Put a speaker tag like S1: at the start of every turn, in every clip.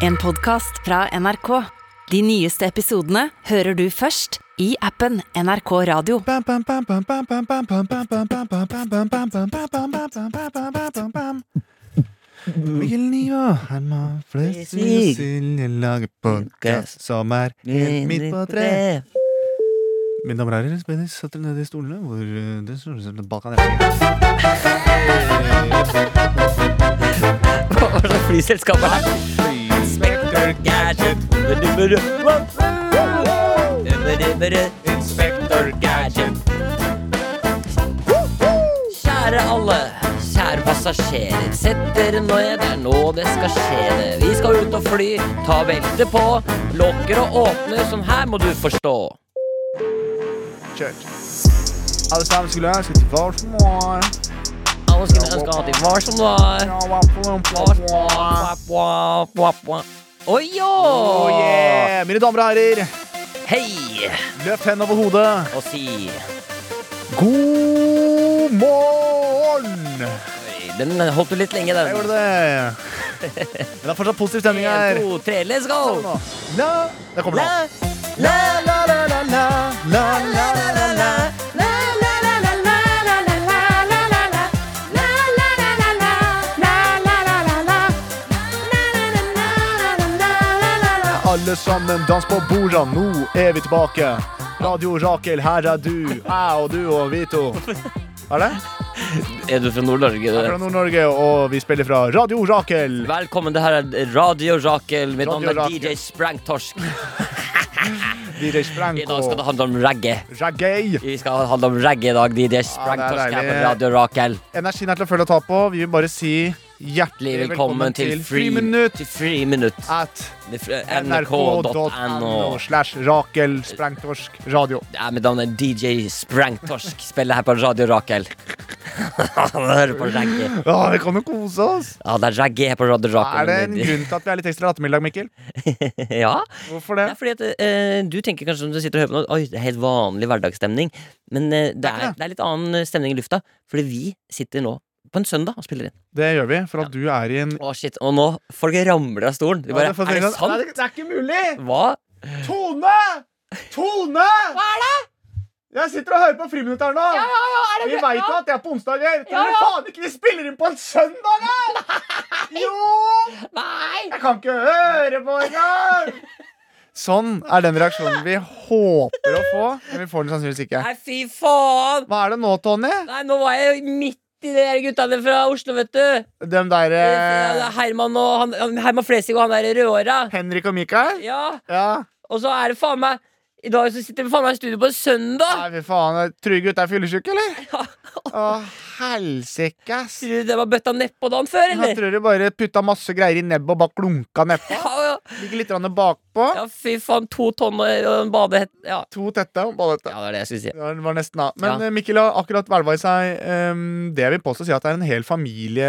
S1: En podcast fra NRK. De nyeste episodene hører du først i appen NRK Radio.
S2: Bam, bam, bam, bam, bam, bam, bam, bam, bam, bam, bam, bam, bam, bam, bam, bam, bam, bam, bam, bam, bam, bam, bam, bam, bam. Hvilken liv er man flest
S3: Sig.
S2: Silje lager podkast som er helt midt på treet. Mine damer og herrer, Benny satt dere nede i stolene hvor eh, det står som bak av dere.
S3: Hva er det flyselskapet her? Inspektør Gadget Inspektør Gadget Kjære alle, kjære passasjerer Sett dere nå ned, det er nå det skal skje det Vi skal ut og fly, ta beltet på Lokker og åpner, som her må du forstå
S2: Kjørt. Alle sammen skulle ønske til hver som var.
S3: Alle skulle ønske å ha til var som var
S2: Ja, hva for noen plass var.
S3: Oi, jo!
S2: Oh, yeah. Mine damer og herrer,
S3: Hei!
S2: løft hendene over hodet.
S3: Og si
S2: God morgen!
S3: Oi, Den holdt du litt lenge, den.
S2: Jeg gjorde det. Men det er fortsatt positiv stemning her.
S3: En, to, tre, let's go!
S2: La, der kommer den. La, la, la, la, la, la, la, la, la, la. Alle sammen, dans på borda, nå er vi tilbake. Radio Rakel, her er du, jeg og du og vi to. Er det?
S3: Er du fra Nord-Norge?
S2: Fra Nord-Norge, og vi spiller fra Radio Rakel.
S3: Velkommen, det her er Radio Rakel. Mitt navn
S2: Radio
S3: er
S2: Rakel.
S3: DJ Sprangtorsk.
S2: DJ
S3: I
S2: Sprank
S3: dag skal
S2: og
S3: det handle om reggae.
S2: Ragay.
S3: Vi skal handle om reggae i dag. DJ
S2: deilig.
S3: Sprangtorsk her på Radio Rakel.
S2: Energien er til å følge og ta på. Vi vil bare si hjertelig
S3: Velkommen,
S2: velkommen til Friminutt
S3: Til friminutt.
S2: at
S3: Det er fra
S2: nrk.no
S3: NRK.no.
S2: slash Rakel Sprengtorsk radio.
S3: Ja, mitt navn er DJ Sprangtorsk. Spiller her på Radio Rakel. Hører på reggae.
S2: Å, vi kan jo kose oss!
S3: Ja, det er reggae her på Radio
S2: Er
S3: Rakel.
S2: det en grunn til at vi er litt ekstra lattermilde i dag, Mikkel?
S3: ja.
S2: Hvorfor det?
S3: Det er fordi at eh, Du tenker kanskje når du sitter og hører på noe Oi, det er helt vanlig hverdagsstemning. Men eh, det, er, det er litt annen eh, stemning i lufta, fordi vi sitter nå på en søndag og spiller inn.
S2: Det gjør vi, for at du er i en
S3: Å shit, Og nå folk ramler av stolen. De bare,
S2: Ja, for-
S3: er det
S2: Nei,
S3: sant?
S2: det, det er ikke mulig!
S3: Hva?
S2: Tone! Tone! Hva er det? Jeg sitter og hører på Friminutt her nå. vi veit jo at det er på onsdager. Tror du faen ikke vi spiller inn på en søndag, da? Jo!
S3: Nei!
S2: Jeg kan ikke høre på engang! Sånn er den reaksjonen vi håper å få, men vi får den sannsynligvis ikke.
S3: Nei, fy faen!
S2: Hva er det nå, Tony?
S3: Nei, nå var jeg jo midt i de der guttene fra Oslo, vet du.
S2: De der
S3: Det
S2: eh,
S3: er Herman og han, han- Herman Flesvig og han der rødhåra.
S2: Henrik og Mikael?
S3: Ja,
S2: Ja.
S3: og så er det faen meg I dag så sitter vi faen meg i studio på en søndag!
S2: Nei, fy faen. Trygve gutt er fyllesyk, eller? Å, helsike, ass.
S3: Tror du det var bøtta nedpå dagen før,
S2: Jeg
S3: eller?
S2: tror du bare putta masse greier i nebbet og bare klunka nedpå.
S3: Ja, ja.
S2: Ligger litt grann bakpå.
S3: Ja, fy faen, to tonn og og en badehett. Ja.
S2: To tette og bare dette.
S3: ja, det er det jeg skulle si.
S2: Ja, det var nesten da. Men
S3: Ja.
S2: eh, Mikkel har akkurat hvelva i seg ehm, det jeg vil påstå si at det er en hel familie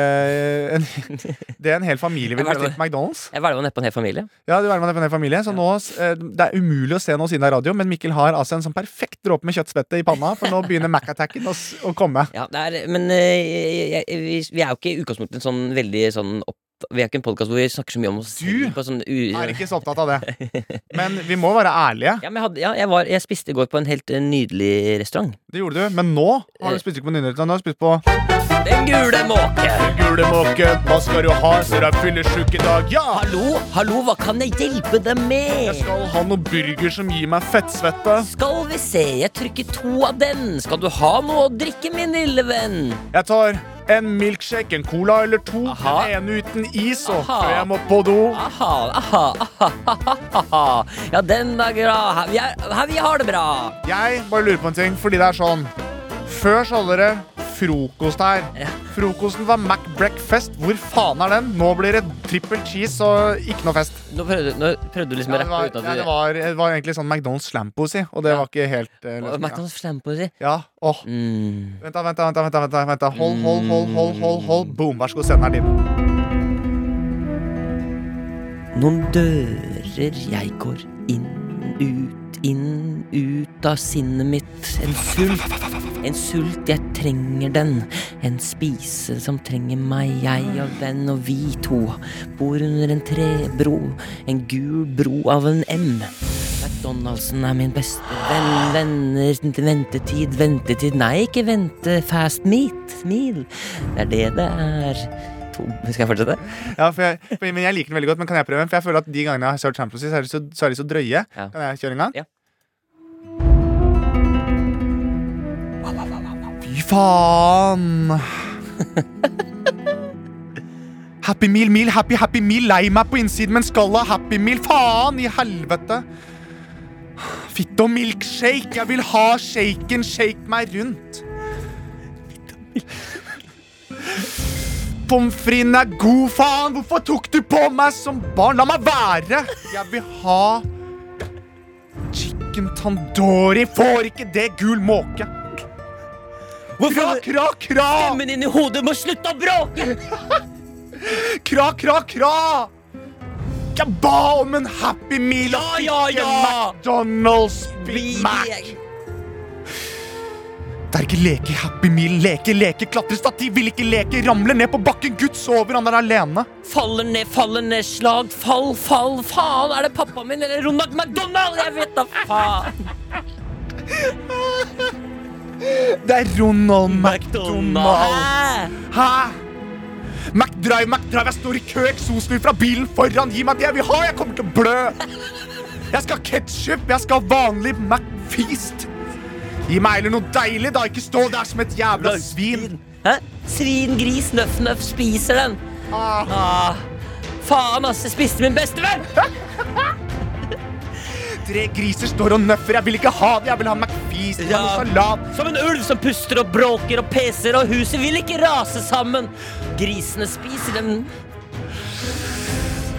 S2: en, Det er en hel familie ville
S3: Jeg
S2: vært litt på McDonald's.
S3: Jeg hvelva nedpå en hel familie.
S2: Ja, du er med på en hel familie Så nå, eh, Det er umulig å se noe siden av radio, men Mikkel har altså en sånn perfekt dråpe med kjøttspette i panna, for nå begynner Mac-attacken å, s- å komme.
S3: Ja, det er, men eh, jeg, jeg, vi, vi er jo ikke i utgangspunktet en sånn veldig sånn opp... Vi er ikke en podkast hvor vi snakker så mye om oss
S2: Du
S3: selv på sånn u...
S2: Jeg er ikke så opptatt av det. Men vi må være ærlige.
S3: Ja, men jeg, hadde, ja, jeg, var, jeg spiste i går på en helt eh, nydelig restaurant.
S2: Det gjorde du. Men nå har du spist ikke på nyhetene, nå har du spist på
S3: Den gule måke!
S2: Gule måke, hva skal du ha? Så du er fyllesjuk i dag. Ja!
S3: Hallo, hallo, hva kan jeg hjelpe deg
S2: Jeg
S3: med?
S2: skal ha noe burger som gir meg fettsvette.
S3: Skal vi se, jeg trykker to av den. Skal du ha noe å drikke, min lille venn?
S2: Jeg tar en milkshake, en cola eller to.
S3: Aha.
S2: Den ene uten is, og
S3: Aha.
S2: før jeg må på do.
S3: Aha, aha, aha, aha, aha. Ja, den er bra. Her Vi, er, her vi har det bra.
S2: Jeg bare lurer på en ting, fordi det er sånn Før så hadde dere frokost her.
S3: Ja.
S2: Frokosten var Mac Breakfast. Hvor faen er den? Nå blir det trippel cheese og ikke noe fest.
S3: Nå prøvde, nå prøvde du liksom
S2: Ja,
S3: å
S2: det, var,
S3: rappe uten
S2: ja,
S3: at
S2: det,
S3: du
S2: var, det var egentlig sånn McDonald's slamposi, og det
S3: Ja.
S2: var ikke helt eh,
S3: Åh,
S2: løsningen.
S3: McDonald's slampoesi.
S2: Ja, åh.
S3: Mm.
S2: Vent, da, vent, da, vent, da, vent, da, vent, da, vent da. Hold, hold, hold, hold, hold, hold. Boom, vær så god, senderen din.
S3: Noen dører jeg går inn, ut, inn, ut av sinnet mitt. En sult. En sult, jeg trenger den. En spise som trenger meg, jeg og den og vi to. Bor under en trebro, en gul bro av en M. McDonald'sen er min beste venn, venner, ventetid, ventetid Nei, ikke vente, fast meat, meal. Det er det det er. To- Skal jeg fortsette?
S2: Ja, for jeg, for, men jeg liker den veldig godt, men kan jeg prøve en? For jeg føler at de gangene jeg har kjørt Champions League, så er de så, så, er de så drøye.
S3: Ja.
S2: Kan jeg kjøre en gang?
S3: Ja.
S2: Fy faen! Happy meal, meal, happy, happy meal. Lei meg på innsiden, men skallet er happy meal. Faen i helvete! Fitte og milkshake. Jeg vil ha shaken. Shake meg rundt. Pommes fritesen er god, faen! Hvorfor tok du på meg som barn? La meg være! Jeg vil ha chicken tandori. Får ikke det, gul måke. Kra, kra, kra!
S3: Stemmen din i hodet må slutte å bråke!
S2: Kra, kra, kra! Jeg ba om en Happy Meal og
S3: Ja,
S2: fikk
S3: ja,
S2: en
S3: ja!
S2: McDonald's Big Mac. Det er ikke leke, Happy Meal, leke, leke, klatrestativ, vil ikke leke, ramler ned på bakken, gutt sover, han er alene.
S3: Faller ned, faller ned, slag, fall, fall, faen! Er det pappaen min eller Ronald McDonald? Jeg vet da faen!
S2: Det er Ronald McDonald.
S3: McDonald!
S2: Hæ? McDrive, McDrive, jeg står i kø, eksosen ut fra bilen foran, gi meg det jeg vil ha, jeg kommer til å blø. Jeg skal ha ketchup, jeg skal ha vanlig McFeast. Gi meg heller noe deilig, da, ikke stå der som et jævla svin.
S3: Hæ? Svin, gris, nøff, nøff, spiser den.
S2: Ah,
S3: Ah, faen, ass, jeg spiste min beste venn!
S2: tre griser står og nøffer, jeg vil ikke ha det, jeg vil ha McFeast, jeg vil ha
S3: Ja.
S2: noe salat.
S3: Som en ulv som puster og bråker og peser, og huset vil ikke rase sammen. Grisene spiser dem.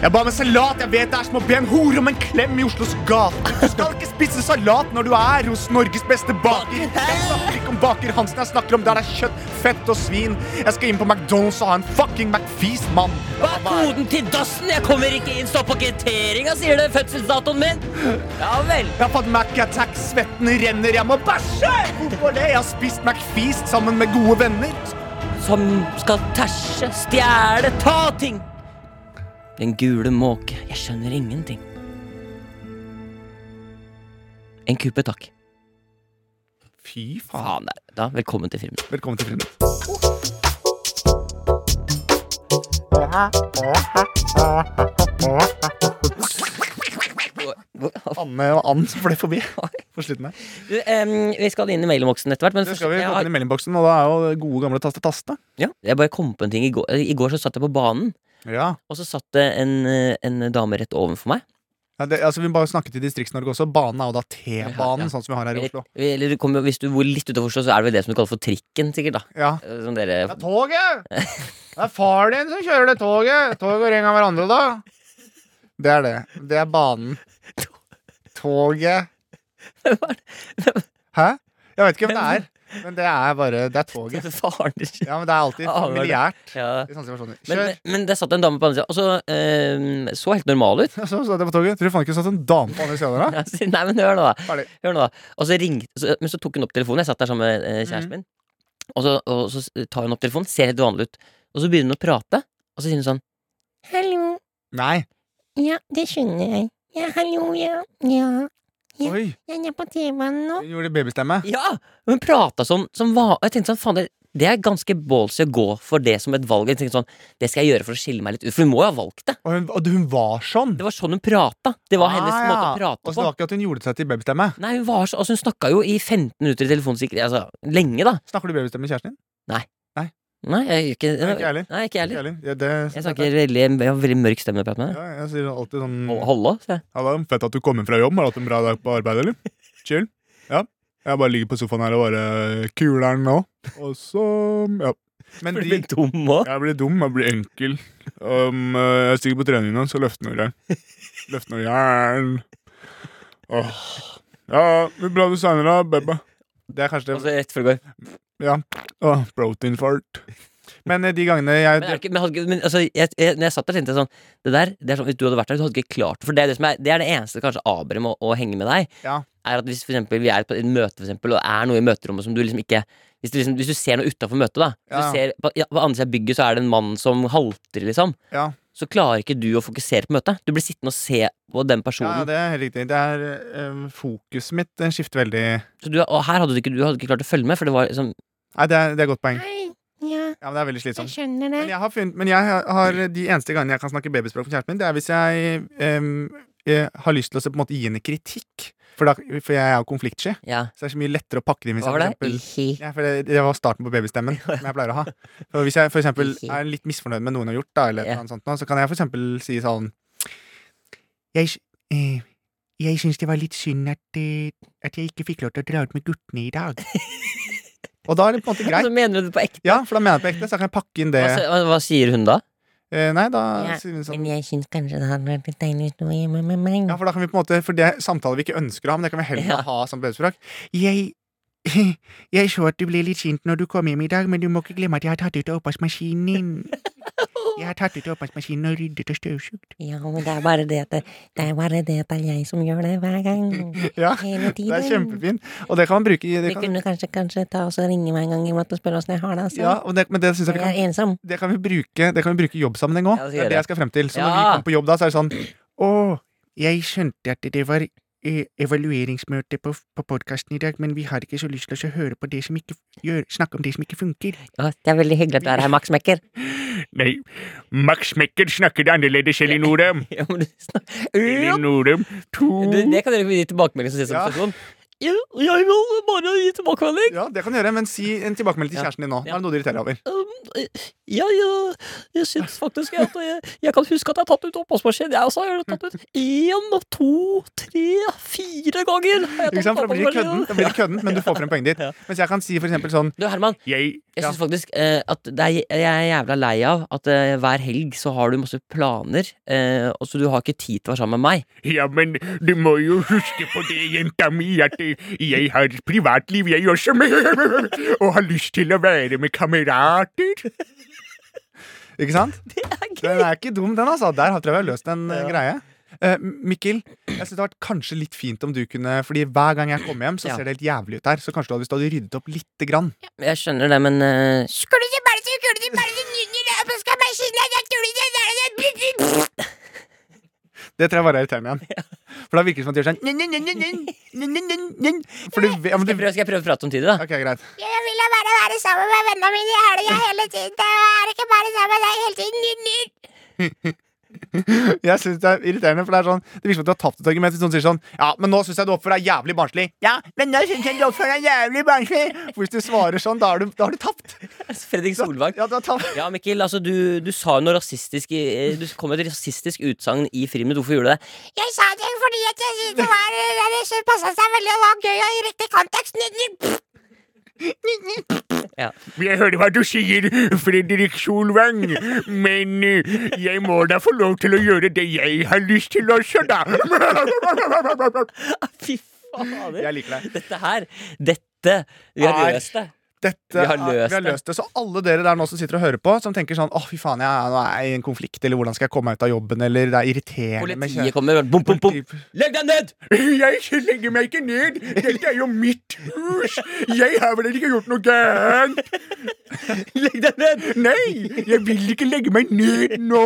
S2: Jeg ba om en salat, jeg vet det er som å be en hore om en klem i Oslos gater. Du skal ikke spise salat når du er hos Norges beste baker. Jeg snakker ikke om baker Hansen, jeg snakker om der det er kjøtt, fett og svin. Jeg skal inn på McDonald's og ha en fucking McFeast, mann.
S3: Hva er koden til dassen? Jeg kommer ikke inn. Stå på kvitteringa, sier det fødselsdatoen min. Ja vel.
S2: Jeg har fått Mac-attack, svetten renner, jeg må bæsje! Hvorfor det? Jeg har spist McFeast sammen med gode venner.
S3: Som skal tæsje, stjele, ta ting. Den gule måke. Jeg skjønner ingenting. En kuppe, takk.
S2: Fy faen.
S3: Faen, der. Da, velkommen til filmen.
S2: Velkommen til Fremad. Anne og Ann som fløy forbi på slutten her.
S3: Du, em, vi skal inn i mailboksen etter hvert. Men
S2: Det
S3: først-
S2: skal vi
S3: jeg
S2: få
S3: har-
S2: inn i meldingboksen, og da er jo det gode gamle taste taste.
S3: Ja, jeg bare kom på en ting i går. I går så satt jeg på banen,
S2: Ja.
S3: og så satt det en, eh, en dame rett ovenfor meg.
S2: Ja, det, altså, vi må bare snakke til Distrikts-Norge også. Banen er jo da T-banen,
S3: Ja, ja.
S2: sånn som vi har her i Oslo.
S3: Eller, eller du kommer, jo- hvis du bor litt utenfor Oslo, så er det vel det som du kaller for trikken, sikkert. da
S2: Ja.
S3: Eh, Som dere
S2: Det er toget! Det er far din som kjører det toget. Tog går en gang hverandre, da. Det er det. Det er banen. Toget. Hæ? Jeg vet ikke hvem det er, men det er bare Det er toget.
S3: Faren din
S2: Ja, men det er alltid
S3: Ah, det er det.
S2: familiært
S3: ja.
S2: i sånne situasjoner.
S3: men,
S2: Kjør.
S3: men, men der satt en dame på andre sida, og så eh, så helt normal ut.
S2: Så satt jeg på toget. Tror du faen ikke det satt en dame på andre siden der, da?
S3: Jeg sier, Nei, men hør nå, da.
S2: Ferdig.
S3: Hør nå da Og så ringte så, Men så tok hun opp telefonen. Jeg satt der sammen med eh,
S2: Mhm.
S3: kjæresten min. Og så, og så s- tar hun opp telefonen, ser helt vanlig ut. Og så begynner hun å prate, og så sier hun sånn Hallo.
S2: Nei.
S3: Ja, det skjønner jeg. Ja, hallo, ja. Ja, Ja.
S2: Oi.
S3: jeg er på T-banen nå.
S2: Hun gjorde babystemme.
S3: Ja, hun prata sånn som var Jeg tenkte sånn, faen, det, det er ganske ballsy å gå for det som et valg. Jeg tenkte sånn, Det skal jeg gjøre for å skille meg litt ut. For hun må jo ha valgt det.
S2: Og hun, og hun var sånn.
S3: Det var sånn hun prata. Det var hennes
S2: Ah, ja.
S3: måte å prate
S2: Altså, det
S3: på.
S2: var ikke at hun gjorde seg til babystemme.
S3: Nei, Hun var så, altså hun snakka jo i 15 minutter i telefonsikkerhet. Altså, lenge, da.
S2: Snakker du babystemme med kjæresten din?
S3: Nei, jeg gjør ikke
S2: Nei, ikke jeg heller.
S3: Nei, ikke jeg heller.
S2: Ærlig? Ja, det,
S3: Jeg snakker veldig, jeg har veldig mørk stemme når jeg prater med deg.
S2: Ja, jeg sier alltid sånn
S3: Hold- Hallo, sier jeg.
S2: Halla, fett at du kom inn fra jobb. Har du hatt en bra dag på arbeid, eller? Chill. Ja. Jeg bare ligger på sofaen her og bare kuler'n nå. Og så Ja. Men
S3: Blir
S2: de
S3: litt dum òg.
S2: Jeg blir dum, jeg blir enkel. Um, eh, jeg stiger på trening nå, så løfter jeg. Løfter noe jern. Åh. Ja, vi bra du
S3: Altså,
S2: seinere, baby. Det er kanskje
S3: Og så rett før det går.
S2: Ja. Åh, protein fart. Men eh, de gangene jeg
S3: Men, er det ikke, men, hadde ikke- men altså, jeg, jeg, når jeg satt der, tenkte jeg sånn Det der, det er sånn, Hvis du hadde vært der, så hadde du ikke klart det. For det er det, som er, det, er det eneste kanskje Abre må å henge med deg.
S2: Ja.
S3: Er at Hvis for eksempel, vi er på et møte, for eksempel, og det er noe i møterommet som du liksom ikke Hvis du, liksom, hvis du ser noe utafor møtet, da. Hvis
S2: Ja.
S3: du ser, på, ja, på andre siden av bygget så er det en mann som halter, liksom.
S2: Ja.
S3: Så klarer ikke du å fokusere på møtet. Du blir sittende og se på den
S2: Ja,
S3: personen.
S2: det er helt riktig. Det er eh, Fokuset mitt eh, skifter veldig
S3: Så du, og her hadde du, ikke, du hadde ikke klart å følge med, for det var liksom
S2: Nei, det er, det er et godt poeng.
S4: Nei, ja,
S2: Ja, men Det er veldig
S4: jeg
S2: slitsomt.
S4: skjønner det.
S2: Men jeg har funnet, men jeg har, de eneste gangene jeg kan snakke babyspråk for kjæresten min, det er hvis jeg eh, eh, har lyst til å så på en måte gi henne kritikk. For, da, for jeg er jo konfliktsky.
S3: Ja.
S2: Så det er så mye lettere å pakke det inn. hvis
S3: Hva
S2: jeg
S3: var
S2: for
S3: det?
S2: eksempel- Ja, for det, det var starten på babystemmen som jeg pleier å ha. For hvis jeg for eksempel er litt misfornøyd med noen har gjort, da, eller
S3: Ja.
S2: noe sånt, nå, så kan jeg for eksempel si sånn Jeg, sy- eh, jeg syns det var litt synd at, eh, at jeg ikke fikk lov til å dra ut med guttene i dag. Og da er det på en måte greit.
S3: Altså, mener du det på ekte?
S2: Ja, for da mener jeg på ekte, så kan jeg pakke inn det.
S3: Hva, s- hva, hva sier hun da?
S2: Eh, nei, da
S4: Ja,
S2: sier hun sånn
S4: Men jeg syns kanskje det hadde vært litt deilig å stå hjemme med meg.
S2: Ja, for da kan vi på en måte For det er samtaler vi ikke ønsker å ha, men det kan vi heller
S3: Ja.
S2: ha som babyspråk. Jeg jeg så at du ble litt sint når du kom hjem i dag, men du må ikke glemme at jeg har tatt ut oppvaskmaskinen. Jeg har tatt ut oppvaskmaskinen og ryddet og støvsugd.
S4: Ja, men det er bare det at det, det er bare det at det er jeg som gjør det hver gang.
S2: Ja, det
S4: Hele
S2: er
S4: tiden.
S2: kjempefint. Og det kan man bruke i
S4: Du
S2: det kan,
S4: kunne kanskje, kanskje ta og så ringe meg en gang iblant og spørre åssen jeg har det. Altså.
S2: ja, og det, Men det synes jeg
S4: jeg
S2: vi
S4: er
S2: kan,
S4: ensom.
S2: det kan vi bruke Det kan vi bruke i jobbsammenheng òg.
S3: Ja,
S2: Det er det
S3: det skal jeg.
S2: jeg skal frem til. Så når vi
S3: Ja.
S2: kommer på jobb da, så er det sånn Å, jeg skjønte at det var eh, evalueringsmøte på, på podkasten i dag, men vi har ikke så lyst til å høre på det som ikke gjør, snakke om det som ikke funker.
S4: Ja, Det er veldig hyggelig at du er her, Max Mekker.
S5: Nei, Max Mekker snakker det annerledes, Elinore.
S3: Ja, men du snak-
S5: Elinore, to
S3: Det, det kan dere gi tilbakemelding som sier
S2: Mm.
S3: som
S2: Ja.
S3: person. Ja, jeg må bare gi tilbakemelding.
S2: Ja, det kan du gjøre, men si en tilbakemelding til
S3: Ja.
S2: kjæresten din nå. Nå
S3: Ja.
S2: er det noe du irriterer deg over.
S3: Um, ja, jeg, jeg syns faktisk at jeg, jeg kan huske at jeg har tatt ut oppvaskmaskinen. Jeg også har tatt ut én, to, tre, fire ganger. har jeg
S2: Ikke
S3: tatt
S2: sant?
S3: ut
S2: For da blir det kødden,
S3: oppvaskmaskinen.
S2: da blir det kødden men du får frem poenget ditt.
S3: Ja.
S2: Mens jeg kan si for eksempel sånn
S3: Du, Herman,
S5: Jeg
S3: jeg
S2: Ja.
S3: syns faktisk eh, at det er, jeg er jævla lei av at eh, hver helg så har du masse planer, eh, og så du har ikke tid til å være sammen med meg.
S5: Ja, men du må jo huske på det, jenta mi, at eh, jeg har et privatliv, jeg også. Og har lyst til å være med kamerater.
S2: Ikke sant?
S3: Det er gøy.
S2: Den er ikke dum, den, altså. Der har- tror jeg vi har løst en eh, greie. Eh, Mikkel, jeg synes det hadde vært kanskje litt fint om du kunne Fordi hver gang jeg kommer hjem, så
S3: Ja.
S2: ser det helt jævlig ut her. Så kanskje du hadde, hvis du hadde ryddet opp lite grann.
S3: Jeg skjønner det, men eh,
S4: Skulle du bare så skulle du bare så nynne det opp, skal jeg skinne deg, skulle du der
S2: Det tror jeg bare er irriterende igjen. For da virker det som at de gjør sånn nyn, nyn, nyn, nyn, nyn, nyn, nyn, nyn. For du vet ja, men
S3: skal jeg
S2: du,
S3: prøve, skal jeg prøve å prate om tidlig, da?
S2: Ok, greit.
S4: Jeg vil bare være sammen med vennene mine i helga hele tiden. Jeg er ikke bare sammen med deg hele tiden. Nynner.
S2: Jeg synes Det er irriterende, for det er sånn Det virker som at du har tapt et argument hvis noen sier sånn Ja, men nå syns jeg du oppfører deg jævlig barnslig. Ja, men nå syns jeg du oppfører deg jævlig barnslig. For hvis du svarer sånn, da har du, da har du tapt.
S3: Fredrik Solvang.
S2: Ja, du har tapt.
S3: Ja, Mikkel, altså du, du sa jo noe rasistisk i- eh, Du kom med et rasistisk utsagn i friminutt. Hvorfor gjorde du det?
S4: Jeg sa det fordi at jeg syntes det var det synes passet seg veldig og var gøy og i riktig kontekst. Nynner.
S5: Jeg hører hva du sier, Fredrik Solvang, men eh, jeg må da få lov til å gjøre det jeg har lyst til også, da.
S3: Fy fader.
S2: Jeg liker deg.
S3: Dette her Dette Vi har
S2: Nei.
S3: løst det.
S2: Dette,
S3: Vi har
S2: er-
S3: løst
S2: vi har
S3: det.
S2: løst det. Så alle dere der nå som sitter og hører på, som tenker sånn Å, fy faen, jeg er, nå er jeg i en konflikt, eller hvordan skal jeg komme meg ut av jobben, eller det er irriterende med
S3: Politiet kommer. Bom, bom, bom.
S2: kjære-
S3: Legg deg ned!
S5: Jeg legger meg ikke ned. Dette er jo mitt hus. Jeg har vel ikke gjort noe gærent.
S3: Legg deg ned!
S5: Nei, jeg vil ikke legge meg ned nå.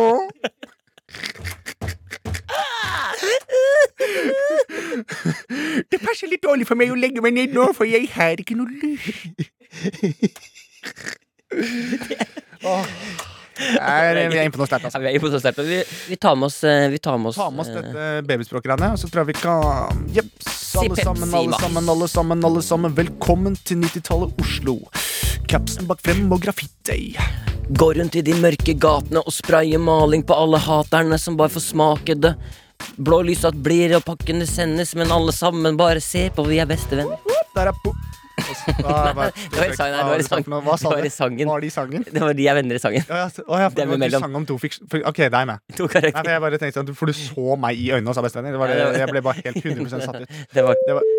S5: Det passer litt dårlig for meg å legge meg ned nå, for jeg har ikke noe lyst.
S2: Jeg er- Vi er inne på noe sterkt, altså.
S3: Ja, vi, er på så sterkt, men vi, vi tar med oss eh, Vi tar med oss,
S2: Ta med oss
S3: eh,
S2: dette babyspråkgreiene, og så tror jeg vi kan Jepps, alle
S3: Pepsi,
S2: sammen, alle
S3: Max.
S2: sammen, alle sammen, alle sammen. Velkommen til 90-tallet Oslo. Capsen bak frem og graffiti.
S3: Gå rundt i de mørke gatene og spraye maling på alle haterne som bare får smake det. Blå lyset blir og pakkene sendes, men alle sammen bare se på, vi er bestevenner.
S2: Der er po... Hva, hva,
S3: Det var i sangen. her, Det var i sangen.
S2: Hva sa
S3: Det var i
S2: du?
S3: sangen.
S2: Var det i sangen?
S3: Det var de jeg venner i sangen.
S2: Å ja, så- å ja, for
S3: Dem
S2: det var du
S3: imellom.
S2: sang om to fiks... for- Ok, det er jeg med. Nei,
S3: To karakterer.
S2: for jeg bare tenkte sånn, For du så meg i øynene og sa bestevenner? Det var det- Jeg ble bare helt 100 satt ut.
S3: Det var
S2: Det var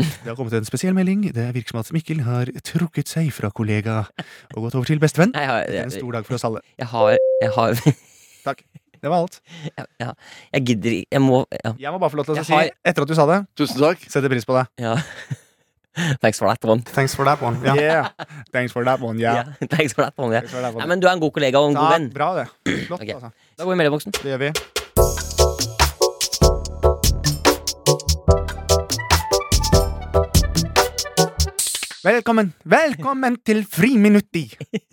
S2: Det har kommet en spesiell melding. Det virker som at Mikkel har trukket seg fra kollega og gått over til bestevenn.
S3: Jeg har,
S2: Det er en
S3: jeg,
S2: stor dag for oss alle.
S3: jeg har, jeg, har
S2: Takk. Det var alt.
S3: ja, ja, jeg gidder ikke Jeg må ja,
S2: Jeg må bare få lov til å
S3: Jeg
S2: si,
S3: har-
S2: etter at du sa det,
S6: Tusen takk.
S2: setter pris på deg.
S3: ja. Thanks for that one.
S2: Thanks for that one. Ja.
S5: Yeah. Thanks for that one, yeah.
S3: Ja, Thanks for that one ja.
S2: Thanks for that
S3: Nei,
S2: one.
S3: men du er en god kollega og en
S2: Ja,
S3: god venn.
S2: bra, det. Flott,
S3: Ok.
S2: altså.
S3: Da går vi i meldeboksen.
S2: Det gjør vi. Velkommen, velkommen til Friminutti!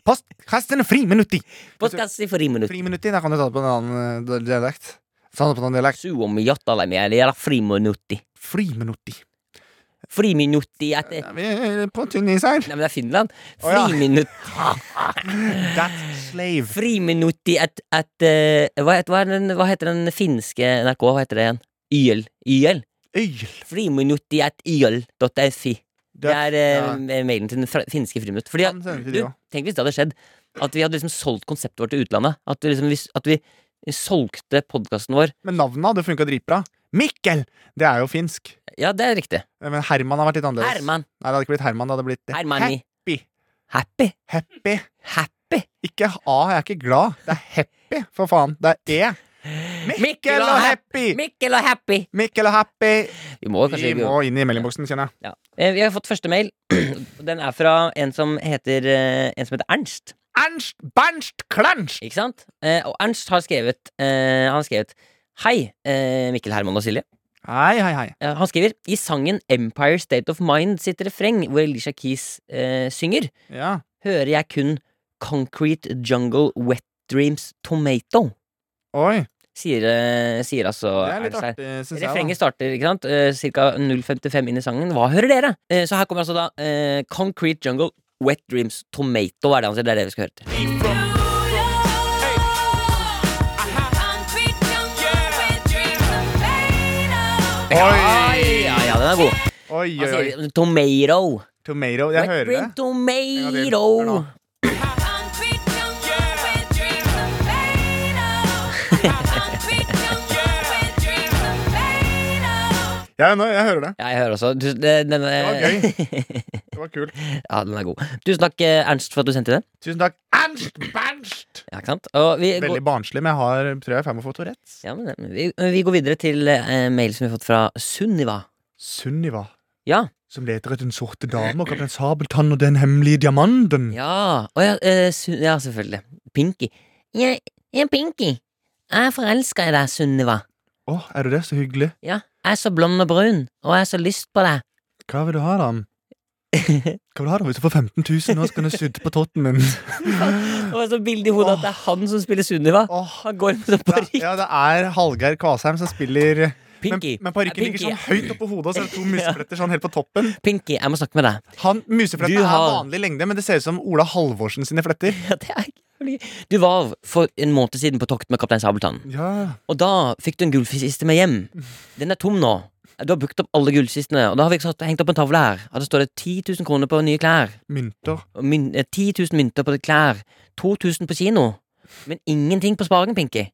S2: Postkasten Friminutti!
S3: Podcast i friminutt.
S2: Friminutti, da kan du ta det på en annen eh, dialekt. Ta det på en annen dialekt.
S3: Suomi-jottalaimieliä friminutti.
S2: Friminutti.
S3: Friminutti er det
S2: Ja, Vi er på tynn is her.
S3: Nei, men det er Finland.
S2: Å, ja.
S3: Friminutt,
S2: That slave.
S3: friminutti at, at eh, hva, het- hva, er den, hva heter den finske NRK? Hva heter det igjen? YL. YL.
S2: Øyl.
S3: Friminutti at yl.fi. Det er eh,
S2: Ja.
S3: mailen til den fra- finske friminutt. Fordi at,
S2: Han sender til
S3: du,
S2: de også.
S3: tenk hvis det hadde skjedd at vi hadde liksom solgt konseptet vårt til utlandet. At vi, liksom, hvis- at vi solgte podkasten vår.
S2: Men navnet hadde funka dritbra. Mikkel! Det er jo finsk.
S3: Ja, det er riktig.
S2: Men Herman har vært litt annerledes.
S3: Herman.
S2: Nei, det hadde ikke blitt Herman. Det hadde blitt
S3: Hermani.
S2: Happy.
S3: Happy.
S2: Happy.
S3: Happy.
S2: Ikke A, jeg er ikke glad. Det er happy, for faen. Det er E. Mikkel og happy!
S3: Mikkel og Happy.
S2: Mikkel og happy!
S3: Vi må
S2: Vi
S3: kanskje
S2: må inn i meldingboksen, kjenner jeg.
S3: Ja. Eh, Vi har fått første mail. Den er fra en som heter, eh, en som heter Ernst.
S2: Ernst Bernst Klernst!
S3: Ikke sant? Eh, Og Ernst har skrevet, eh, han har skrevet Hei, eh, Mikkel Herman og Silje.
S2: Hei, hei, hei.
S3: Eh, Han skriver i sangen Empire State of Mind sitt refreng, hvor Elisha Keys eh, synger,
S2: Ja.
S3: hører jeg kun Concrete Jungle Wet Dreams Tomato.
S2: Oi.
S3: Sier, eh, sier altså
S2: Det er litt
S3: Ernst her.
S2: artig, syns jeg.
S3: Refrenget
S2: da.
S3: starter ikke sant? Eh, cirka 0.55 inn i sangen. Hva hører dere? Eh, så her kommer altså da eh, Concrete Jungle, Wet Dreams, Tomato. Er det, han sier. det er det vi skal høre til.
S2: Oi,
S3: Ja, ja, den er god.
S2: oi,
S3: Han
S2: oi.
S3: sier tomato.
S2: Tomato. Jeg
S3: wet
S2: hører det.
S3: dream
S2: En gang til.
S3: tomato.
S2: Hør nå. Ja, nå, jeg hører det.
S3: Ja, jeg hører også. Du, det, den, eh,
S2: Det var kult.
S3: ja, den er god. Tusen takk, eh, Ernst, for at du sendte den.
S2: Tusen takk. Ernst Bernst!
S3: Ja, ikke sant? Og vi, går,
S2: Veldig barnslig, men jeg har, tror jeg er i ferd med å få Tourettes.
S3: ja, men, vi, vi går videre til eh, mail som vi har fått fra Sunniva.
S2: Sunniva.
S3: Ja.
S2: Som leter etter den sorte dame og kaptein Sabeltann og den hemmelige diamanten.
S3: Ja, å ja, eh, Sun- ja selvfølgelig. Pinky. Jeg, jeg er Pinky. Jeg er forelska i deg, Sunniva.
S2: Å, er du det? Så hyggelig.
S3: Ja, jeg er så blond og brun, og jeg har så lyst på deg.
S2: Hva vil du ha, da? Hva vil du ha da hvis du får 15 000? Nå skal du sudde på totten min.
S3: Det var så bilde i hodet at det er han som spiller Sunniva.
S2: Åh.
S3: Han går med sånn parykk.
S2: Ja, det er Hallgeir Kvasheim som spiller
S3: Pinky.
S2: Men, men parykken
S3: Ja,
S2: ligger
S3: Pinky,
S2: sånn høyt oppå hodet, og så er det to musefletter sånn helt på toppen.
S3: Pinky, jeg må snakke med deg.
S2: Han, Museflettene
S3: Du
S2: er
S3: har-
S2: vanlig lengde, men det ser ut som Ola Halvorsen sine fletter.
S3: Ja, det er ikke fordi- Du var for en måned siden på tokt med Kaptein Sabeltann,
S2: Ja,
S3: og da fikk du en gullkiste med hjem. Den er tom nå. Du har brukt opp alle gullkistene, og da har vi satt- hengt opp en tavle her. Og det står det 10 000 kroner på nye klær.
S2: Mynter.
S3: Og myn- eh, 10 000 mynter på klær, 2000 på kino, men ingenting på sparing, Pinky.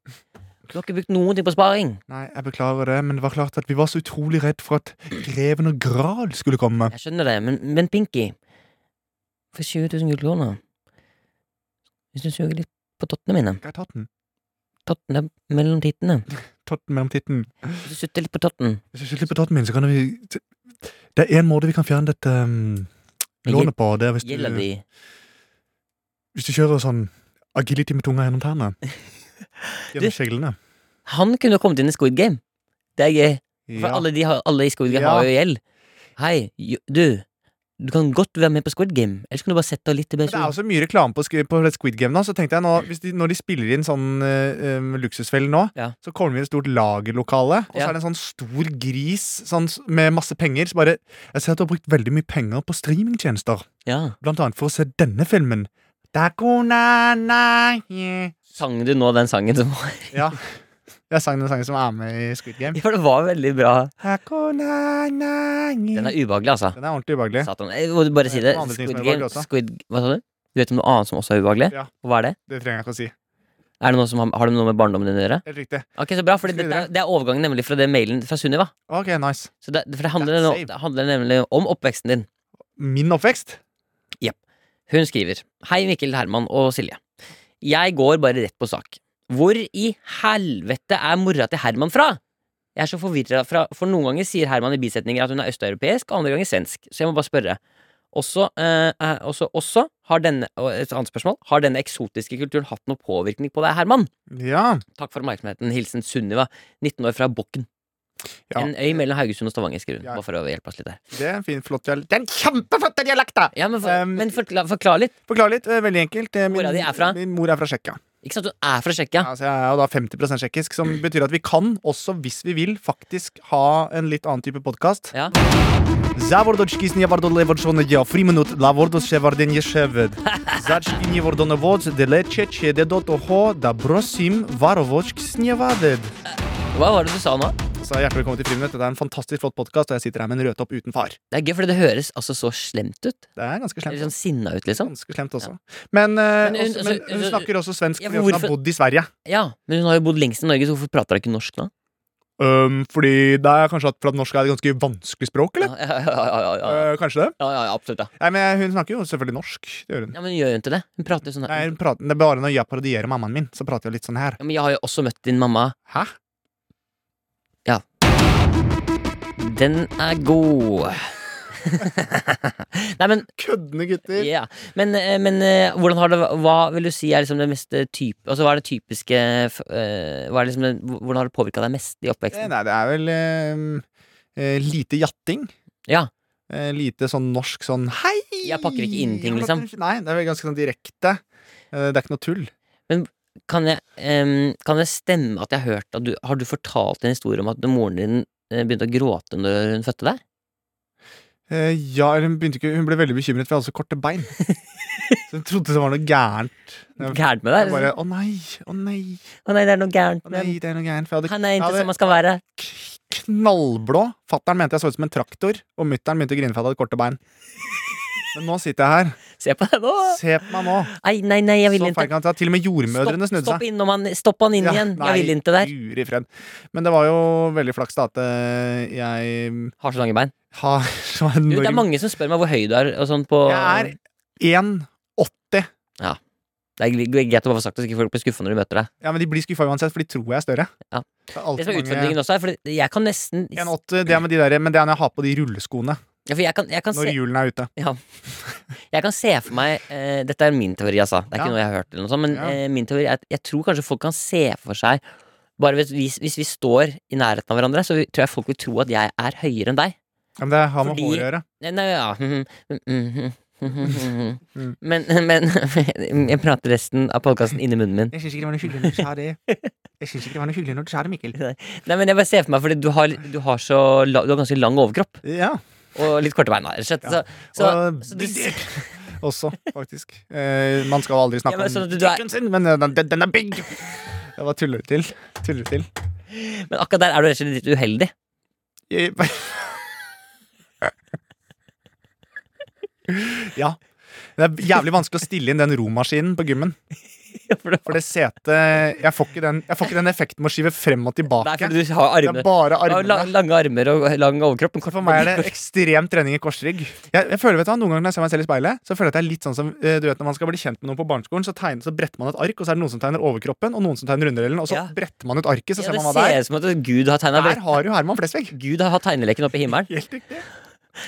S3: Du har ikke brukt noen ting på sparing.
S2: Nei, jeg beklager det, men det var klart at vi var så utrolig redd for at Greven og Gral skulle komme.
S3: Jeg skjønner det, men, men Pinky For 20 000 gullkroner Hvis du suger litt på tottene mine
S2: Skal jeg ta den?
S3: Tottene mellom tittene
S2: Totten mellom titten.
S3: Hvis du sutter litt på totten
S2: Hvis du ikke slipper totten min, så kan vi Det er én måte vi kan fjerne dette um, lånet på. Det er hvis du,
S3: Gjelder de
S2: hvis du kjører sånn agility med tunga gjennom tærne.
S3: Du-
S2: Gjennom kjeglene.
S3: Han kunne jo kommet inn i Squid Game Det er gøy For
S2: Ja.
S3: alle, de har, alle i Squid Game har
S2: Ja.
S3: jo gjeld Hei, jo- du Du kan godt være med på Squid Game Ellers kan du bare sette deg litt til
S2: Men Det er
S3: BSU
S2: også mye reklame på, Squid- på Squid Game nå. Så tenkte jeg nå, hvis de, Når de spiller inn sånn eh, um, luksusfelle nå,
S3: Ja.
S2: så kommer vi i et stort lagerlokale, og så
S3: Ja.
S2: er det en sånn stor gris sånn, s- med masse penger. Så bare Jeg ser at du har brukt veldig mye penger på streamingtjenester,
S3: Ja
S2: blant annet for å se denne filmen. Dakonanaye.
S3: Sang du nå den sangen som var
S2: Ja. Jeg sang den sangen som er med i Squid Game.
S3: Ja, for det var veldig bra
S2: Dakonanaye.
S3: Den er ubehagelig, altså
S2: Den er ordentlig ubehagelig.
S3: Satan, jeg må bare si det.
S2: Det er noen andre ting som er
S3: Squid Game
S2: ubehagelig også.
S3: Squid, Hva sa du? Du vet om noe annet som også er ubehagelig?
S2: Ja.
S3: Hva er det?
S2: Det trenger jeg ikke å si.
S3: Er det noe som har, har det noe med barndommen din å gjøre?
S2: Helt riktig.
S3: Ok, så bra, for
S2: Skal vi
S3: det, det er overgangen nemlig fra det mailen fra Sunniva.
S2: Ok, nice.
S3: Så det, for det handler,
S2: That's
S3: nå,
S2: safe.
S3: det handler nemlig om oppveksten din.
S2: Min oppvekst?
S3: Hun skriver Hei Mikkel, Herman og Silje. Jeg går bare rett på sak. Hvor i helvete er mora til Herman fra? Jeg er så forvirra, fra- for noen ganger sier Herman i bisetninger at hun er østeuropeisk, og andre ganger svensk, så jeg må bare spørre. Også, eh, eh, også, også har denne, og et annet spørsmål, har denne eksotiske kulturen hatt noe påvirkning på deg, Herman?
S2: Ja.
S3: Takk for oppmerksomheten. Hilsen Sunniva, 19 år fra Bukken.
S2: Ja.
S3: En øy mellom Haugesund og Stavanger, skriver hun.
S2: Ja.
S3: Bare for å hjelpe oss litt der.
S2: Det er en fin, flott dialekt. Det er en kjempeflott dialekt, da!
S3: Ja, men, for,
S2: Um,
S3: men forkla, forklar litt.
S2: Forklar litt. eh, Veldig enkelt. Eh,
S3: Mora di er fra?
S2: Min mor er fra Tsjekkia.
S3: Ikke sant, hun er fra Tsjekkia.
S2: Altså, jeg er jo da 50 tsjekkisk, som betyr at vi kan, også hvis vi vil, faktisk ha en litt annen type podkast.
S3: Ja.
S2: Zawardoczki zniewardodzone ja friminut dla wordos szewardenie szewed. Zaczki niewardonowodz delecie ciede do toho da brosim varovočk sniewadet.
S3: Hva var det du sa nå?
S2: Så hjertelig velkommen til Friminutt. Dette er en fantastisk flott podkast, og jeg sitter her med en rødtopp uten far.
S3: Det er gøy, fordi det høres altså så slemt ut.
S2: Det er ganske slemt.
S3: Eller sånn sinna ut, liksom.
S2: Ganske slemt også. Men, eh,
S3: Men hun-
S2: også, men
S3: altså,
S2: hun snakker også svensk
S3: Ja,
S2: fordi hun har
S3: hvorfor-
S2: bodd i Sverige.
S3: Ja, Men hun har jo bodd lengst i Norge, så hvorfor prater hun ikke norsk nå?
S2: Um, fordi det er kanskje at, for at norsk er et ganske vanskelig språk,
S3: Ja,
S2: eller?
S3: ja, ja, ja, ja, ja,
S2: Eh, kanskje det?
S3: ja, ja, ja absolutt, ja.
S2: Nei, men Hun snakker jo selvfølgelig norsk. Det gjør hun.
S3: ja. Men hun gjør jo ikke det. Hun prater jo sånn
S2: Nei,
S3: her.
S2: hun prater, det er bare når jeg parodierer mammaen min, så prater jeg litt sånn her.
S3: Ja, men jeg har jo også møtt din mamma.
S2: Hæ?
S3: Den er god. Nei, men
S2: Køddende gutter.
S3: ja. Men, eh, men eh, hvordan har det Hva vil du si er liksom det mest eh, typ... Altså, hva er det typiske f- eh, hva er liksom det, Hvordan har det påvirka deg mest i
S2: Eh,
S3: oppveksten?
S2: Nei, det er vel eh, eh, lite jatting.
S3: Ja.
S2: Eh, lite sånn norsk sånn hei!
S3: Jeg pakker ikke inn ting, liksom.
S2: Nei, det er vel ganske sånn direkte. Eh, det er ikke noe tull.
S3: Kan, jeg, ehm, kan det stemme at jeg har hørt at du Har du fortalt en historie om at moren din eh, begynte å gråte når hun fødte deg?
S2: Eh, ja, eller hun, begynte ikke, hun ble veldig bekymret, for jeg hadde så korte bein. så hun trodde det var noe gærent. Jeg,
S3: Gærent med deg?
S2: jeg bare Å nei, å nei,
S3: Å nei, det er noe gærent
S2: å
S3: med
S2: nei,
S3: den.
S2: det er noe gærent. For jeg hadde
S3: Han
S2: Ja,
S3: er ikke
S2: det-
S3: som han skal være.
S2: knallblå. Fattern mente jeg så ut som en traktor, og mutter'n begynte å grine for jeg hadde korte bein. Men nå sitter jeg her.
S3: Se på deg nå!
S2: Se på meg nå.
S3: Nei, nei, nei, jeg vil
S2: Så
S3: ikke.
S2: feil kan jeg ta. Til og med jordmødrene
S3: Stopp,
S2: snudde
S3: stopp,
S2: seg.
S3: innom han, stopp han inn
S2: Ja,
S3: igjen.
S2: nei,
S3: Jeg vil ikke der.
S2: Guri fred. Men det var jo veldig flaks da at eh, jeg
S3: Har så lange bein.
S2: har så
S3: Du, det er
S2: enorm
S3: mange som spør meg hvor høy du er og sånn på
S2: Jeg er 1,80.
S3: Det er gre- greit å bare få sagt det, så ikke folk blir skuffa når de møter deg.
S2: Ja, men de blir skuffa uansett, for de tror jeg er større.
S3: Ja.
S2: Det er
S3: Det
S2: alltid
S3: som er
S2: mange
S3: utfordringen også, er fordi jeg kan nesten
S2: 1,80, det er med de der, men det er når jeg har på de rulleskoene
S3: Ja, for jeg kan, jeg kan
S2: når
S3: se
S2: hjulene er ute.
S3: Jeg kan se for meg eh, Dette er min teori, altså. Det er
S2: Ja.
S3: ikke noe jeg har hørt, eller noe sånt, men
S2: Ja.
S3: eh, min teori er at jeg tror kanskje folk kan se for seg Bare hvis, hvis, hvis vi står i nærheten av hverandre, så tror jeg folk vil tro at jeg er høyere enn deg.
S2: Ja, men det har med
S3: Fordi-
S2: hår å gjøre.
S3: Nei, Nei, ja mhm, mhm, mhm, mhm.
S2: Mm.
S3: Men, men jeg prater resten av podkasten inni munnen min.
S2: Jeg syns ikke det var noe hyggelig når du sa det. Jeg syns ikke det var noe hyggelig når du sa det, Mikkel.
S3: Nei, men jeg bare ser for meg, fordi du har, du har, så, la- du har ganske lang overkropp
S2: Ja.
S3: og litt korte bein. da, rett og slett. Så, så,
S2: og
S3: så du,
S2: big dick også, faktisk. Eh, man skal aldri
S3: Ja,
S2: snakke
S3: men
S2: om
S3: sånn at du- du er-
S2: dicken sin, men eh, den, den er big! Jeg bare tuller til. Tuller til.
S3: men akkurat der er du rett og slett litt uheldig.
S2: Jeg- ja. Det er jævlig vanskelig å stille inn den romaskinen på gymmen.
S3: For du,
S2: For det setet Jeg får ikke den, jeg får ikke den effekten med å skyve frem og
S3: nei,
S2: tilbake.
S3: fordi du
S2: Det
S3: har
S2: er
S3: armene.
S2: bare
S3: Du har la-
S2: armene.
S3: lange armer og lang overkropp. men kort-
S2: For meg er det ekstrem trening i korsrygg. Jeg, jeg føler, vet du, hva, Noen ganger når jeg ser meg selv i speilet, Så føler jeg at jeg er litt sånn som eh, Du vet når man skal bli kjent med noen på barneskolen, så, tegner, så bretter man et ark, og så er det noen som tegner overkroppen, og noen som tegner underdelen, og så
S3: Ja.
S2: bretter man ut arket, så
S3: Ja,
S2: ser
S3: det
S2: man hva det
S3: ser
S2: er.
S3: ut som at Gud har tegna
S2: Der har jo Herman Flesvig.
S3: Gud har hatt tegneleken oppe i himmelen.
S2: Helt riktig.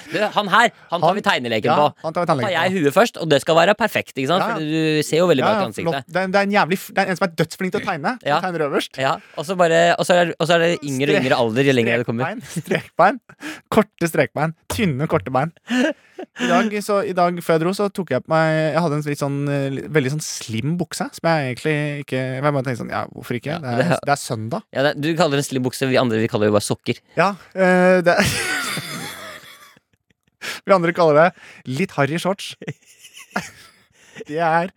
S3: Du, han her, han tar
S2: Han-
S3: vi tegneleken
S2: Ja,
S3: på.
S2: han tar
S3: Tar
S2: tannlegen.
S3: jeg huet først, og det skal være perfekt. ikke sant?
S2: Ja, ja.
S3: For du ser jo veldig bra
S2: Ja, ja,
S3: ut i
S2: flott.
S3: ansiktet.
S2: det, er, det, er en jævlig, f- det er en som er dødsflink til å tegne. som
S3: Ja.
S2: Tegner øverst.
S3: Ja, og så bare, og så er, og så er det yngre og yngre alder jo lenger det kommer.
S2: Strekbein, strekbein. Korte strekbein. Tynne, korte bein. I dag, så, I dag før jeg dro, så tok jeg på meg Jeg hadde en litt sånn, eh, li- veldig sånn slim bukse. Som jeg egentlig ikke Jeg bare tenkte sånn Ja, hvorfor ikke?
S3: Ja,
S2: det,
S3: det
S2: er,
S3: er-
S2: det er søndag.
S3: Ja, det, du kaller det en slim bukse, vi andre vi kaller det jo bare sokker.
S2: Ja, eh, det er Vi andre kaller det litt harry shorts. Det er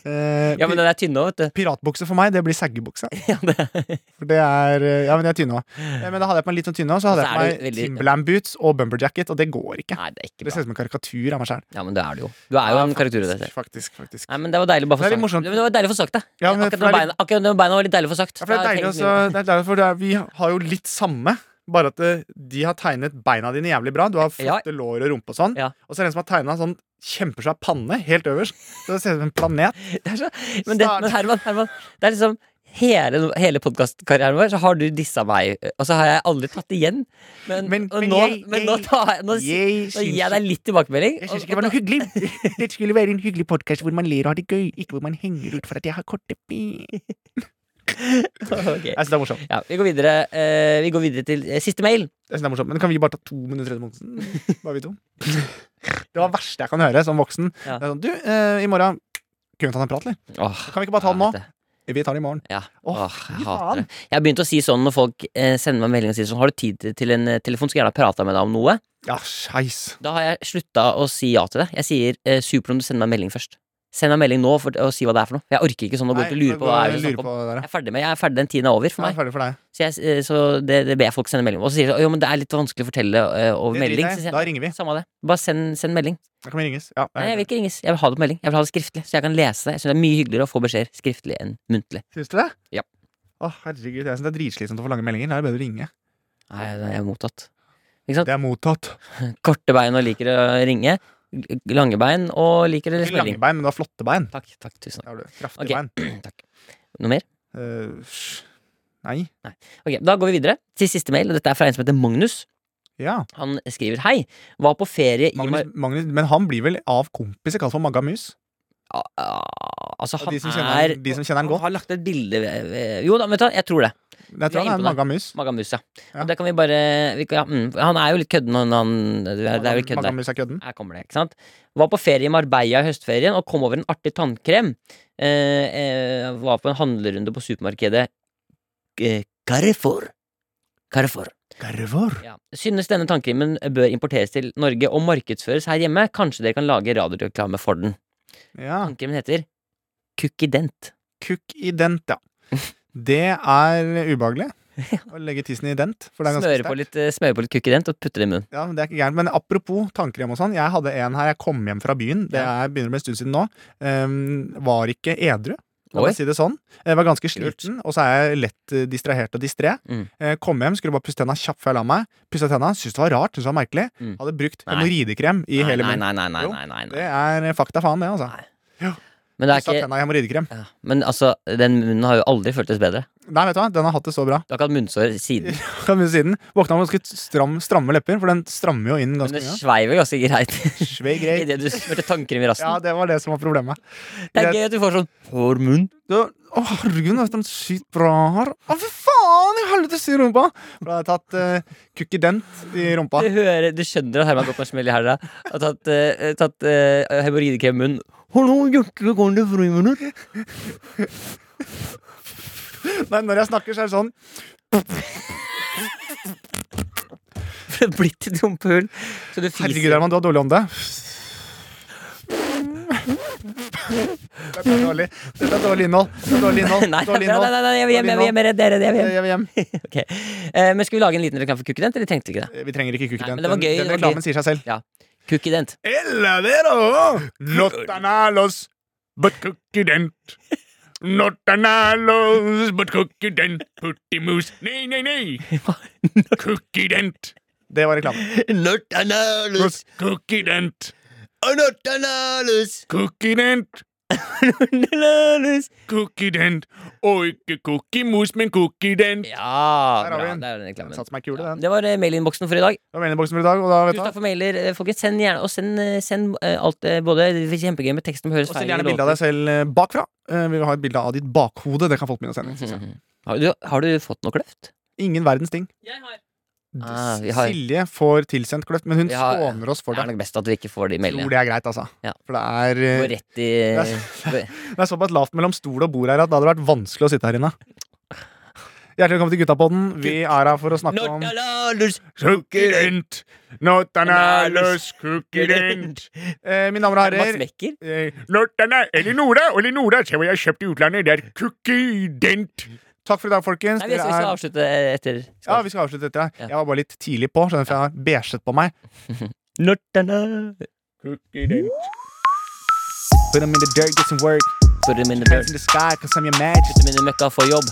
S2: Eh,
S3: Ja, men den er tynne òg, vet du.
S2: Piratbukse for meg, det blir saggebukse.
S3: Ja, det.
S2: For det er eh, Ja, men jeg er tynn òg. Men da hadde jeg på meg litt sånn tynn også, så hadde
S3: Og
S2: jeg
S3: så er
S2: på
S3: du
S2: meg
S3: veldig-
S2: Timberland boots og bumper jacket, og det går ikke.
S3: Nei, det er ikke
S2: Det
S3: bra.
S2: ser ut som en karikatur av meg sjæl.
S3: Ja, men det er du jo. Du er jo en karakter i dette.
S2: Faktisk, faktisk.
S3: Nei, men Det var deilig bare for
S2: Det er litt
S3: sagt.
S2: morsomt.
S3: Det var deilig for sagt, da.
S2: Ja, men for
S3: akkurat
S2: det er
S3: når beina, akkurat når beina var litt deilig for
S2: Ja,
S3: sagt.
S2: for det er
S3: Da
S2: deilig
S3: tenkte
S2: også,
S3: jeg-
S2: det er deilig for det er, vi har jo litt samme, bare at eh, de har tegnet beina dine jævlig bra. Du har
S3: Ja.
S2: flotte lår og rumpe og sånn.
S3: Ja.
S2: Og så er det en som har tegna sånn kjempesvær panne helt øverst. Så det ser ut som en planet.
S3: Det er så, men, det, men Herman, Herman, det er liksom Hele, hele podkastkarrieren vår så har du dissa meg, og så har jeg aldri tatt igjen. Men,
S2: Men-
S3: og
S2: men
S3: nå,
S2: jeg-
S3: men nå,
S2: jeg-
S3: tar jeg, nå, si-
S2: jeg
S3: nå gir
S2: syns-
S3: jeg deg litt tilbakemelding.
S2: Jeg
S3: og-
S2: syns ikke det var noe hyggelig. Det skulle være en hyggelig podkast hvor man ler og har det gøy, ikke hvor man henger ut for at jeg har korte ben. Jeg
S3: Ok.
S2: syns det er morsomt.
S3: ja, vi, går videre, eh, vi går videre til eh, siste mail.
S2: Jeg synes det er morsomt. Men kan vi bare ta to minutter etter Monsen? Bare vi to? Det var det verste jeg kan høre som voksen.
S3: Ja.
S2: Det er sånn, du, eh, i morgen Kunne vi tatt en prat, eller?
S3: Åh,
S2: Kan vi ikke bare ta den nå?
S3: helvete.
S2: Vi tar den i morgen.
S3: Ja.
S2: Åh,
S3: Åh, jeg
S2: fy
S3: hater
S2: faen.
S3: det. Jeg har begynt å si sånn når folk eh, sender meg melding og sier sånn Har du tid til en eh, telefon, så gjerne prate med deg om noe.
S2: Ja, skeis.
S3: Da har jeg slutta å si ja til det. Jeg sier eh, supert om du sender meg en melding først. Send meg en melding nå for å si hva det er for noe. Jeg orker ikke sånn å gå ut og
S2: Nei,
S3: lure på hva det er vi
S2: lurer
S3: snakker om.
S2: på det der, ja.
S3: Jeg er ferdig med, jeg er ferdig, den tiden er over for
S2: Ja,
S3: meg.
S2: ferdig for deg.
S3: Så, jeg, eh, så det, det ber jeg folk sende melding om. Og så sier de jo, men det er litt vanskelig å fortelle eh, over
S2: Det
S3: melding.
S2: driter jeg
S3: Så
S2: i.
S3: sier
S2: Da
S3: jeg,
S2: ringer vi.
S3: Samme av det. Bare send, send melding.
S2: Da kan vi ringes. Ja,
S3: Nei, jeg vil ikke ringes. Jeg vil ha det på melding. Jeg vil ha det skriftlig, så jeg kan lese det. Jeg synes det er mye hyggeligere å få beskjeder skriftlig enn muntlig.
S2: Syns du det?
S3: Ja.
S2: Å, herregud, jeg synes det er dritslitsomt å få lange meldinger. Da er det bedre å ringe.
S3: Nei, jeg er mottatt.
S2: Det er mottatt.
S3: Korte bein og liker å ringe. Lange bein og liker å lese
S2: Lange
S3: melding.
S2: bein, men du har flotte bein.
S3: Takk, takk, tusen takk.
S2: Det har du. Kraftige
S3: Ok.
S2: bein.
S3: takk. Noe mer?
S2: Eh, sj. nei.
S3: Ok, Da går vi videre til siste mail. og Dette er fra en som heter Magnus.
S2: Ja.
S3: Han skriver hei. Var på ferie i Mar...
S2: Magnus, Magnus, men han blir vel av kompiser kalt for Magga Mus?
S3: Ah, ah, Altså,
S2: Og
S3: han
S2: de som kjenner
S3: er
S2: han- de som kjenner han godt.
S3: har lagt et bilde ved, ved Jo da, vet du hva, jeg tror det.
S2: Jeg
S3: Vi er
S2: tror han er
S3: inne på det.
S2: Magga Mus.
S3: Magga Mus, ja.
S2: Ja.
S3: Og Det kan vi bare vi kan, ja, mm, Han er jo litt kødden, han, han Det er det er jo litt kødd
S2: Magga
S3: der.
S2: Mus er kødden.
S3: Her kommer det, ikke sant? Var på ferie i Marbella i høstferien og kom over en artig tannkrem. Eh, eh, var på en handlerunde på supermarkedet eh, Carrefour. Carrefour.
S2: Garvor.
S3: Ja. Synes denne tannkrimen bør importeres til Norge og markedsføres her hjemme. Kanskje dere kan lage radioreklame for den.
S2: Ja.
S3: Tannkrimen heter Kukkident.
S2: Kukk i dent, ja. Det er ubehagelig å legge tissen i dent. For det er ganske
S3: Smøre på
S2: sterkt.
S3: litt, eh, smøre på litt kukkident og putte det i munnen.
S2: Ja, men det er ikke gærent. Men apropos tannkrem og sånn. Jeg hadde en her. Jeg kom hjem fra byen. Det
S3: Ja.
S2: er, begynner å bli en stund siden nå. Ehm, var ikke edru. La
S3: Oi.
S2: meg si det sånn. Jeg var ganske
S3: Lurt.
S2: sliten, og så er jeg lett eh, distrahert og distré.
S3: Mm.
S2: Eh, Kom hjem, skulle bare pusse tenna kjapt før jeg la meg. Pussa tenna, syntes det var rart, syntes det var merkelig.
S3: Mm.
S2: Hadde brukt
S3: Nei.
S2: hemoroidekrem i
S3: Nei,
S2: hele
S3: nei,
S2: munnen.
S3: nei, nei, nei,
S2: Jo,
S3: nei, nei,
S2: Det
S3: nei.
S2: er fakta faen, det, altså.
S3: Nei, Men det er
S2: Pussa
S3: ikke
S2: tenna i hemoroidekrem.
S3: ja, Men altså, den munnen har jo aldri føltes bedre.
S2: Nei, vet du hva, den har hatt det så bra.
S3: Du har ikke hatt munnsår siden.
S2: Kan vi siden. Våkna med ganske stram, stramme lepper, for den strammer jo inn
S3: Men
S2: ganske
S3: det
S2: mye.
S3: sveiver ganske greit
S2: Svei grei.
S3: idet du smurte tannkrem i
S2: Ja,
S3: rassen.
S2: det var det som var problemet.
S3: Det er gøy at du får sånn hår munn.
S2: Du, å, herregud, det er sånn sykt bra her. Å, fy faen, i helvetes i rumpa! For da har jeg tatt eh, kukk i dent i rumpa.
S3: Du, hører, du skjønner at Herman har gått på en smell i hæla og tatt, uh, tatt eh, hemoroidekrem i munnen. Hallo, hjertelig velkommen til friminutt.
S2: Nei, når jeg snakker, så er det sånn.
S3: For det er blitt et rumpehull. Så du
S2: Herregud,
S3: fiser.
S2: Herman, du har dårlig ånde. Dette er dårlig. Dette er dårlig innhold. Dette er dårlig innhold.
S3: Nei, nei,
S2: Dårlig
S3: nei,
S2: innhold.
S3: nei, nei, jeg vil hjem, jeg vil hjem, jeg er redd, jeg er redd, jeg vil
S2: Eh,
S3: hjem.
S2: Jeg vil hjem.
S3: Ok. Eh, men skal vi lage en liten reklame for Kukkident, eller trengte vi ikke det?
S2: Eh, Vi trenger ikke kukk i
S3: Nei, men
S2: dent.
S3: det var
S2: Den,
S3: gøy,
S2: den
S3: det var gøy.
S2: reklamen sier seg selv.
S3: Kukkident.
S5: No tan a los, but cookie dent. No tan a los, but cookie dent. Putty moose. Nei, nei, nei. Cookie dent.
S2: Det var reklamen.
S3: Nortanalus,
S5: Cookie dent.
S3: nortanalus,
S5: Cookie dent.
S3: nortanalus.
S5: Cookie dent. Og ikke cookie mus, men cookie dent.
S3: Ja,
S2: Der har vi
S3: bra.
S2: den.
S3: Der er den
S2: Den
S3: reklamen.
S2: satte meg kul,
S3: Ja,
S2: den.
S3: Det var eh, mailinnboksen for i dag.
S2: Det var meningboksen for i dag, og da,
S3: Tusen takk
S2: vet du
S3: for mailer. eh, Folkens, send gjerne Og send, eh, send eh, alt eh, både det er kjempegøy med teksten som høres
S2: Og send
S3: feil
S2: gjerne
S3: i
S2: bilde av deg selv eh, bakfra. Eh, Vi vil ha et bilde av ditt bakhode. Det kan folk begynne å sende.
S3: låten.
S2: inn, synes jeg.
S3: Mhm. Har du, har du fått noe kløft?
S2: Ingen verdens ting.
S3: Ah, vi har-
S2: Silje får tilsendt kløft, men hun
S3: Vi har-
S2: skåner oss for
S3: Det er
S2: det.
S3: nok best at vi ikke får de
S2: Tror
S3: meldingene.
S2: det er greit, altså.
S3: Ja.
S2: For det
S3: Gå
S2: er, eh,
S3: rett i
S2: Det er såpass lavt mellom stol og bord her at det hadde vært vanskelig å sitte her inne. Hjertelig velkommen til Guttapodden. Vi er her for å snakke om
S3: Nordalalus
S5: Sukkerent. Notanalus sukkerent.
S3: Mats
S2: eh, Mine damer og herrer
S3: Mekker?
S2: eh,
S5: Nordana Elinora og Elinora. Se hva jeg har kjøpt i utlandet. Det er kukkident.
S2: Takk for i dag, folkens.
S3: Nei, vi
S2: Dere
S3: skal, vi skal
S2: er-
S3: avslutte eh, etter
S2: ja, vi skal avslutte dette.
S3: Ja.
S2: Jeg var bare litt tidlig på, skjønner du, for jeg har beiget på meg.
S3: Nortana
S5: Kukkident.
S2: Put 'em in the dirt, get some work.
S3: Put them in the
S2: Hands
S3: dirt
S2: in the sky, cause I'm your magic.
S3: Putte dem inn i møkka for jobb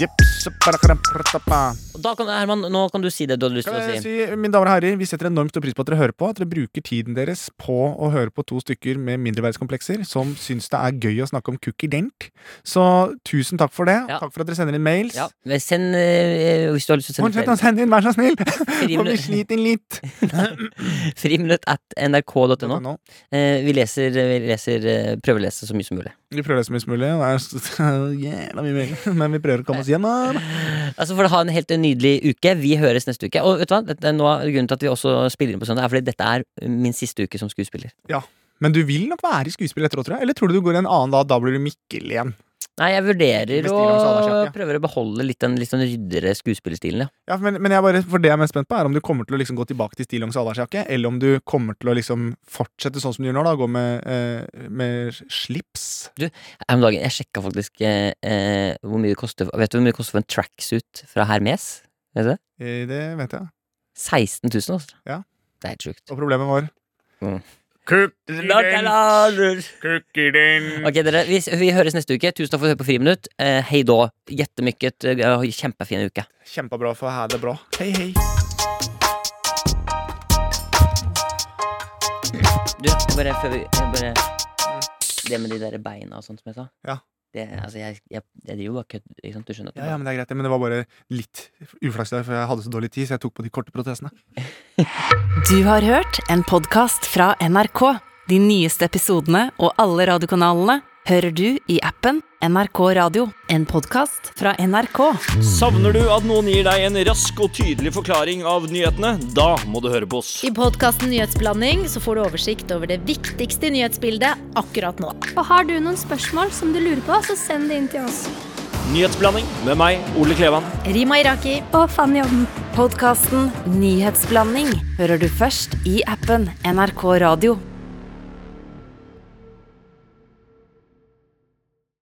S2: Yep, så bare kan jeg prate på.
S3: Og da kan, Herman, nå kan du si det du hadde lyst
S2: Kan
S3: til å
S2: jeg
S3: si
S2: si, mine damer og herrer, Vi setter enormt stor pris på at dere hører på. At dere bruker tiden deres på å høre på to stykker med mindreverdskomplekser som syns det er gøy å snakke om cookie dent. Så tusen takk for det.
S3: Ja.
S2: Takk for at dere sender inn mails.
S3: ja, men send, eh, hvis du har lyst til å
S2: Fortsett å sende
S3: sende
S2: inn, vær så snill! For vi
S3: minutt.
S2: sliter litt.
S3: flere Friminutt at nrk.no
S2: Nå.
S3: Eh, vi leser, vi leser eh, prøver å lese så mye som mulig.
S2: Vi prøver det så mye som mulig. og Det er så jævla mye mail. Men vi prøver å komme oss gjennom.
S3: Altså for å Ha en helt nydelig uke. Vi høres neste uke. Og vet du hva? Dette, er noe av grunnen til at vi også spiller inn på søndag, er fordi dette er min siste uke som skuespiller.
S2: Men du vil nok være i skuespill etterpå, tror jeg. Eller tror du du går en annen da? Da blir du Mikkel igjen.
S3: Nei, jeg vurderer
S2: Bestiller
S3: å
S2: en salatjakke.
S3: prøver å beholde litt den litt sånn ryddere skuespillerstilen, ja.
S2: Ja, men, men jeg bare, for det jeg er mest spent på, er om du kommer til å liksom gå tilbake til stillongs allværsjakke, eller om du kommer til å liksom fortsette sånn som du gjør nå, da, gå med, eh, med slips.
S3: Her om dagen, Jeg sjekka faktisk eh, eh, hvor mye det koster for- Vet du hvor mye det koster for en tracksuit fra Hermes? Vet du det?
S2: Eh, Det vet jeg.
S3: 16 000, altså.
S2: Ja.
S3: Det er helt sjukt.
S2: Og problemet var
S5: Kukkident. Kukkident.
S3: Ok, dere, vi, vi høres neste uke. Tusen takk for at du hørte på Friminutt. Eh, hei da. Jettemykket. Eh, kjempefin uke.
S2: kjempebra for å ha det bra. Hei, hei.
S3: Du, bare før vi jeg bare, Det med de der beina og sånt som jeg sa.
S2: Mm. Ja.
S3: Det, altså, jeg, jeg, jeg driver jo bare kødd, ikke sant? Du skjønner at det
S2: Ja, ja, men det er greit, det, men det var bare litt uflaks der, for jeg hadde så dårlig tid, så jeg tok på de korte protesene.
S1: Du har hørt en podkast fra NRK. De nyeste episodene og alle radiokanalene hører du i appen NRK Radio. En podkast fra NRK.
S6: Savner du at noen gir deg en rask og tydelig forklaring av nyhetene? Da må du høre på oss.
S7: I podkasten Nyhetsblanding så får du oversikt over det viktigste nyhetsbildet akkurat nå.
S8: Og har du noen spørsmål som du lurer på, så send det inn til oss.
S6: Nyhetsblanding med meg, Ole Klevan.
S7: Rima Iraki.
S8: Og Fanny Odden.
S1: Podkasten Nyhetsblanding hører du først i appen NRK Radio.